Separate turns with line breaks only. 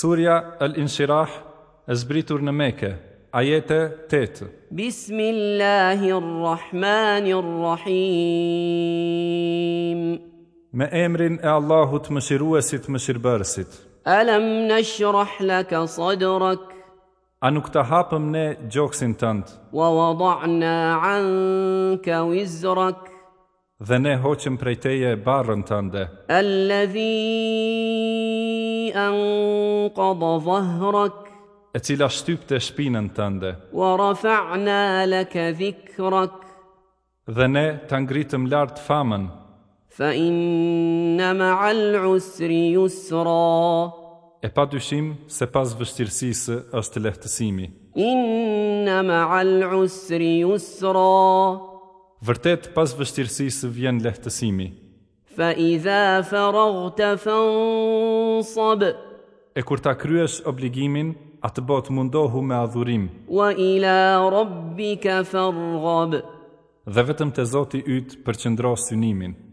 Surja El Inshirah e zbritur në Mekë, ajete 8.
بسم الله الرحمن الرحيم
Me emrin e Allahut mëshiruesit mëshirbërësit.
ألم نشرح لك صدرك
A nuk të hapëm ne gjoksin tënd,
ووضعنا عنك وزرك
dhe ne hoqëm prej teje barrën tënde,
الذي أنقض ظهرك
e cila shtypte shpinën tënde,
ورفعنا لك ذكرك
dhe ne të ngritëm lartë famën,
فإن مع العسر يسرا
e pa dyshim se pas vështirësisë është lehtësimi.
إن مع العسر يسرا
Vërtet pas vështirësisë vjen lehtësimi.
فإذا فرغت فانصب
E kur ta kryesh obligimin, atë botë mundohu me adhurim,
وإلى ربك فارغب
dhe vetëm te Zoti yt përqendro synimin.